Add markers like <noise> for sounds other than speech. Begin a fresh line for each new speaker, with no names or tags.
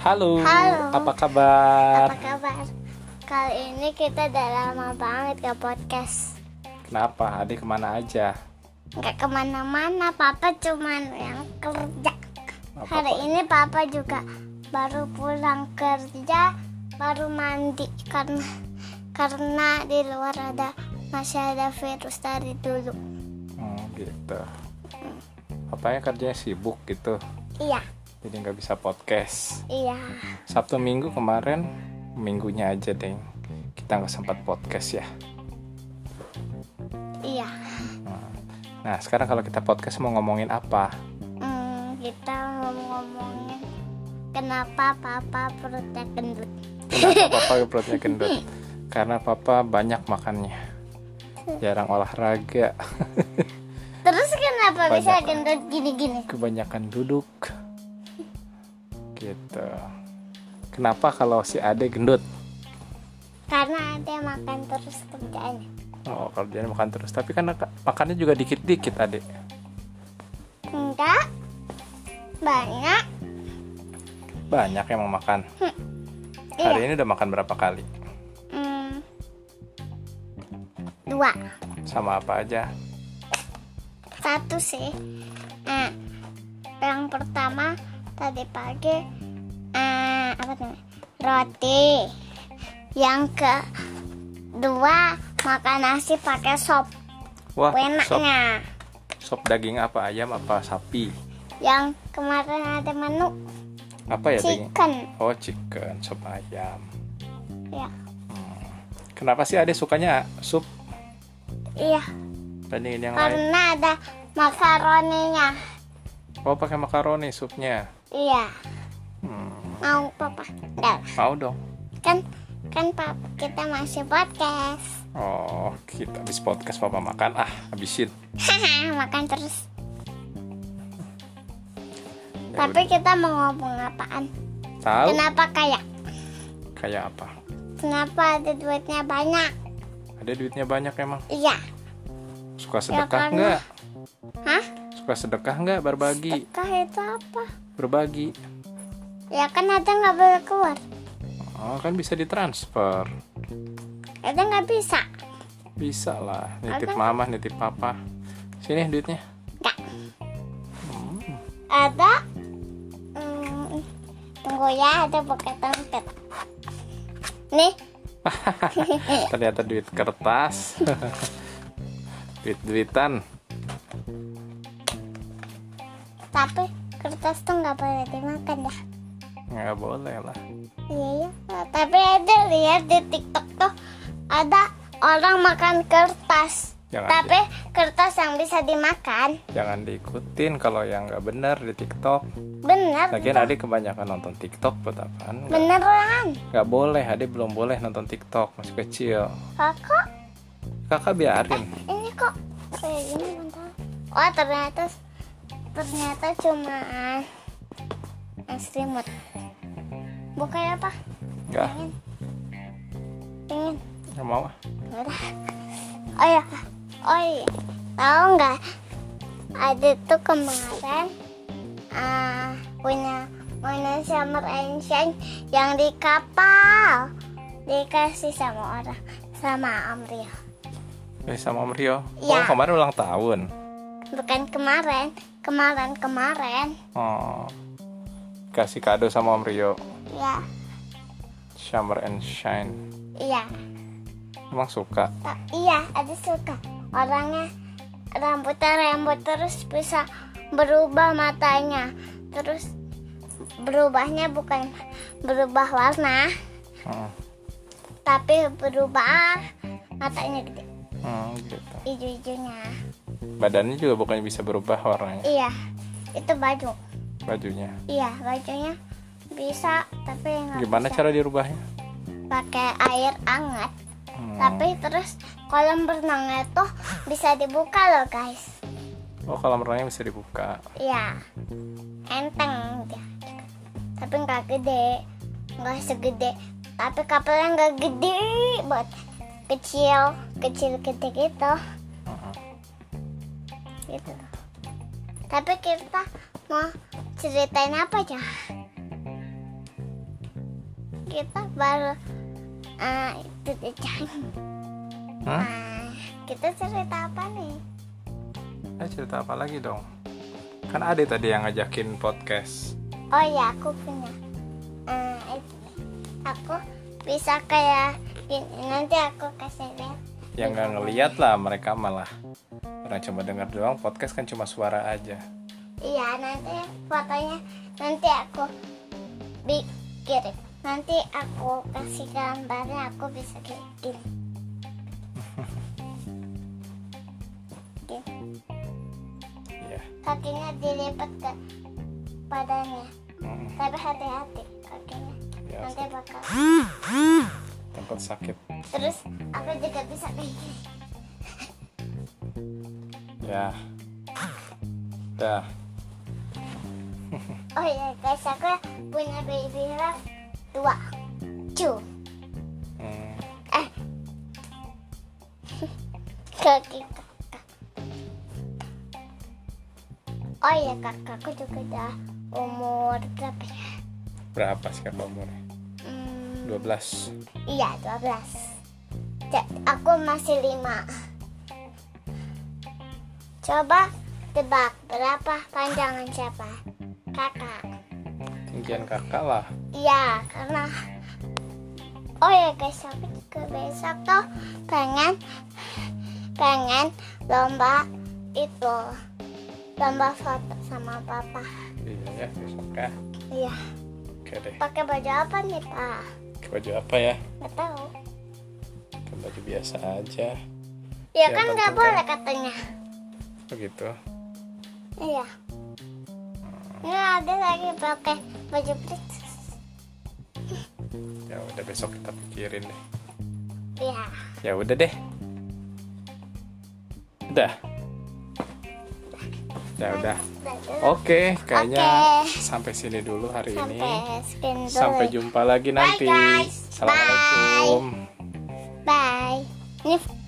Halo,
Halo.
apa kabar?
Apa kabar? Kali ini kita udah lama banget ke podcast
Kenapa? Adik kemana aja?
Nggak kemana-mana, papa cuman yang kerja
Apa-
Hari ini papa juga baru pulang kerja Baru mandi karena, karena di luar ada masih ada virus dari dulu
Hmm, gitu. Apanya kerjanya sibuk gitu,
Iya,
jadi nggak bisa podcast.
iya
Sabtu Minggu kemarin, minggunya aja deh. Kita nggak sempat podcast ya.
Iya,
Nah, sekarang kalau kita podcast mau ngomongin apa?
Hmm, kita mau ngomongin Kenapa papa perutnya gendut
Kenapa papa perutnya gendut? Karena papa banyak makannya. Jarang olahraga,
Terus kenapa bisa
Banyak.
gendut gini-gini?
kebanyakan duduk. Gitu. Kenapa kalau si Ade gendut?
Karena ada yang makan terus kerjaannya.
Oh, kerjaan makan terus. Tapi kan ak- makannya juga dikit-dikit, Ade.
Enggak. Banyak.
Banyak yang mau makan.
Iya.
Hari ini udah makan berapa kali?
Hmm. Dua.
Sama apa aja?
Satu sih. Eh, yang pertama tadi pagi eh, apa namanya? Roti. Yang kedua makan nasi pakai sop.
Wah, Ah, sop,
Enaknya.
sop daging apa? Ayam apa? Sapi?
Yang kemarin ada menu
Apa ya Iya, daging?
chicken.
Oh, chicken, sop ayam.
Ya.
Kenapa sih Ade sukanya sup
Iya,
Nah, bandingin yang lain?
karena ada makaroninya.
Oh, pakai makaroni supnya.
Iya.
Hmm,
mau papa Dah.
mau dong.
kan kan papa kita masih podcast <laughs>
Oh, kita habis podcast papa makan. Ah, habisin.
haha makan terus
Ya
tapi kita mau ngomong apaan
udah. tahu
kenapa kayak
kayak apa?
kenapa ada duitnya banyak
Ada duitnya banyak emang.
iya
Suka
Ya,
sedekah
karena-
nggak?
hah
Suka sedekah nggak? Berbagi,
sedekah itu apa
berbagi.
ya kan ada nggak boleh keluar
Oh, kan bisa ditransfer.
ada nggak bisa
Bisa lah. Nitip
Oke.
mama, nitip papa. Sini duitnya.
nggak ada hmm, tunggu ya ada buka dompet nih <laughs>
Ternyata duit kertas. <laughs> Duit-duitan.
tapi kertas tuh nggak boleh dimakan ya
Nggak boleh lah.
Iya, iya. tapi ada lihat di TikTok tuh ada orang makan kertas.
Jangan
tapi kertas yang bisa dimakan.
Jangan diikutin kalau yang nggak benar di TikTok.
Bener.
Lagian adik kebanyakan nonton TikTok buat apaan? Nggak-
Beneran.
Nggak boleh, adik belum boleh nonton TikTok masih kecil.
Kok kok
Kakak biarin.
ini kok kayak ini bentar. Oh, ternyata ternyata cuma es remote. Buka apa?
Nggak,
Pengen. Pengen.
nggak mau. ah.
Udah. Oh ya, oh iya, tahu nggak? Ada tuh kemarin ah, punya punya summer and shine yang di kapal dikasih sama orang sama Om Rio.
Eh, sama Om Rio. Oh,
Iya.
kemarin ulang tahun.
Bukan kemarin, kemarin kemarin
Oh. Kasih kado sama Om Rio.
ya
Summer and Shine.
iya
Emang suka?
ta- iya ada suka orangnya rambutnya rambut terus bisa berubah matanya terus berubahnya bukan berubah warna
Hmm,
tapi berubah matanya gede
hmm, gitu.
hijau-hijaunya
Badannya juga bukannya bisa berubah warnanya,
iya itu baju
bajunya.
iya bajunya bisa tapi nggak
Gimana
bisa.
cara dirubahnya?
pakai air hangat
Hmm.
tapi terus kolam renangnya tuh bisa dibuka loh guys
Oh, kolam renangnya bisa dibuka.
Iya, enteng dia. Tapi nggak gede, nggak segede. Tapi kapalnya nggak gede buat kecil, kecil gede gitu.
Hmm.
gitu. Tapi kita mau ceritain apa ya? kita baru ah itu deh, Chan.
Hah?
Ah, kita cerita apa nih?
Eh, cerita apa lagi dong? Kan Ade tadi yang ngajakin podcast.
Oh ya, aku punya. Ah, itu. aku bisa kayak gini. Nanti aku kasih lihat.
Yang nggak ngeliat lah mereka malah. Orang cuma denger doang, podcast kan cuma suara aja.
Iya, nanti fotonya nanti aku bikin. Nanti aku kasih gambarnya, aku bisa bikin.
Iya.
Kakinya dilipat ke badannya,
Mm,
tapi hati-hati kakinya.
iya,
Nanti bakal.
Tempat sakit.
Terus aku juga bisa kayak gini.
Ya. Dah.
Oh iya guys, aku punya baby love dua. Cu,
Mm,
Eh. kaki kakak. Oh iya kakakku juga udah umur berapa ya?
berapa sih kakak umurnya?
Hmm,
12.
iya 12. Ja- aku masih 5. Coba tebak berapa panjangan siapa? Kakak.
Tinggian kakak lah.
Iya, karena Oh ya guys, aku juga besok tuh pengen pengen lomba itu lomba foto sama papa.
Iya ya, besok ya.
Iya,
Oke deh.
pakai baju apa nih pak?
Pakai baju apa ya?
Gak tahu.
Pakai baju biasa aja.
Ya
Yang
kan nggak
penting
boleh katanya.
Begitu.
Iya. Nggak ada lagi pakai baju princess.
Ya udah besok kita pikirin deh.
Iya.
Ya udah deh. Udah. Ya udah.
Baju-
Oke, kayaknya
Oke.
sampai sini dulu hari ini.
Sampai skin dulu.
Sampai jumpa lagi nanti.
guys.
Assalamualaikum.
Bye. Ini